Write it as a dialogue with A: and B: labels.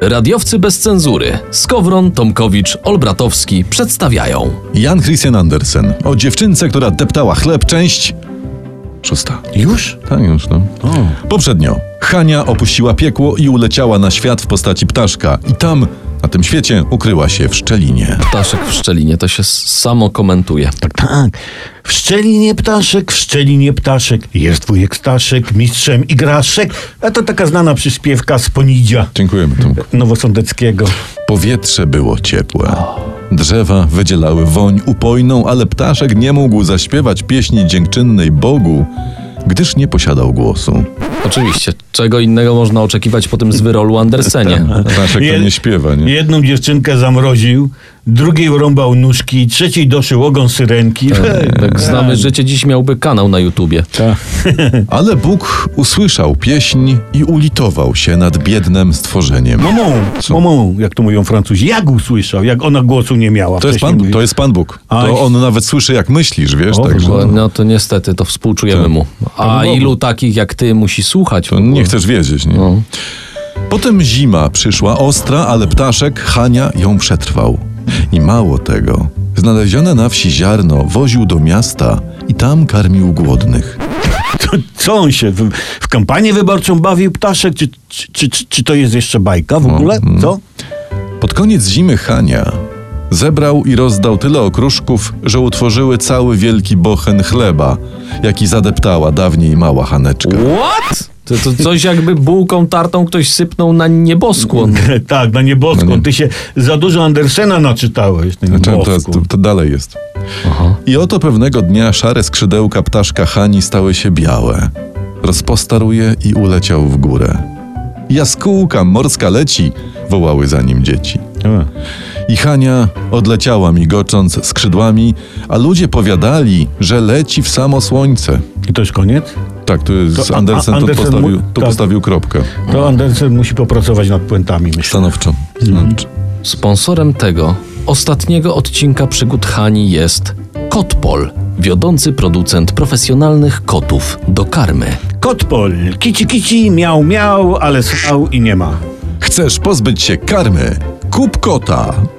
A: Radiowcy bez cenzury. Skowron, Tomkowicz, Olbratowski przedstawiają.
B: Jan Christian Andersen o dziewczynce, która deptała chleb, część szósta.
C: Już?
B: Tak już, no. Poprzednio Hania opuściła piekło i uleciała na świat w postaci ptaszka i tam, na tym świecie, ukryła się w szczelinie.
A: Ptaszek w Szczelinie, to się s- samo komentuje.
C: Tak, tak. W szczelinie ptaszek, w szczelinie ptaszek. Jest wujek Staszek, mistrzem igraszek. A to taka znana przyśpiewka z Ponidzia
B: Dziękujemy Tomku.
C: Nowosądeckiego.
B: Tak Powietrze było ciepłe. Drzewa wydzielały woń upojną, ale ptaszek nie mógł zaśpiewać pieśni dziękczynnej Bogu, gdyż nie posiadał głosu.
A: Oczywiście, czego innego można oczekiwać po tym zwyrolu Andersenie.
B: Ptaszek to
C: Jed-
B: nie śpiewa, nie?
C: Jedną dziewczynkę zamroził, drugiej urąbał nóżki, trzeciej doszył ogon syrenki.
B: Tak,
A: Jak Tak znamy życie, dziś miałby kanał na YouTubie.
B: Ale Bóg usłyszał pieśń i ulitował się nad biednym stworzeniem.
C: Momą, momą, jak to mówią Francuzi. Jak usłyszał, jak ona głosu nie miała.
B: To jest,
C: wcześniej
B: pan,
C: mówi-
B: to jest Pan Bóg.
C: Aj.
B: To on nawet słyszy, jak myślisz, wiesz? Także
A: Bo, no to niestety, to współczujemy mu. A ilu takich jak ty musi słuchać?
B: to nie chcesz wiedzieć, nie?
A: No.
B: Potem zima przyszła ostra, ale ptaszek Hania ją przetrwał. I mało tego, znalezione na wsi ziarno woził do miasta i tam karmił głodnych.
C: To, co on się w, w kampanię wyborczą bawił ptaszek? Czy, czy, czy, czy, czy to jest jeszcze bajka
B: No,
C: w ogóle? Co?
B: Pod koniec zimy Hania zebrał i rozdał tyle okruszków, że utworzyły cały wielki bochen chleba, jaki zadeptała dawniej mała Haneczka.
A: What? To, to coś jakby bułką tartą ktoś sypnął na nieboskłon.
B: Mhm.
C: tak, na nieboską. Ty się za dużo Andersena naczytałeś. Na
B: Znaczy, No to,
C: nieboską.
B: to, to dalej jest. I oto pewnego dnia szare skrzydełka ptaszka Hani stały się białe. Rozpostarł je i uleciał w górę. Jaskółka morska leci, wołały za nim dzieci. I Hania odleciała migocząc skrzydłami, a ludzie powiadali, że leci w samo słońce.
C: I to już koniec?
B: Tak, to jest
C: To
B: Andersen,
C: A-
B: tu
C: Andersen
B: postawił,
C: mu-
B: tu
C: tak.
B: postawił kropkę.
C: To Andersen musi popracować nad puentami, myślę.
B: Stanowczo.
C: Mhm.
B: Znaczy,
A: Sponsorem tego ostatniego odcinka przygód Hani jest Kotpol, wiodący producent profesjonalnych kotów do karmy.
C: Kotpol, kici kici, miał miał, ale srał i nie ma.
B: Chcesz pozbyć się karmy? Kup kota!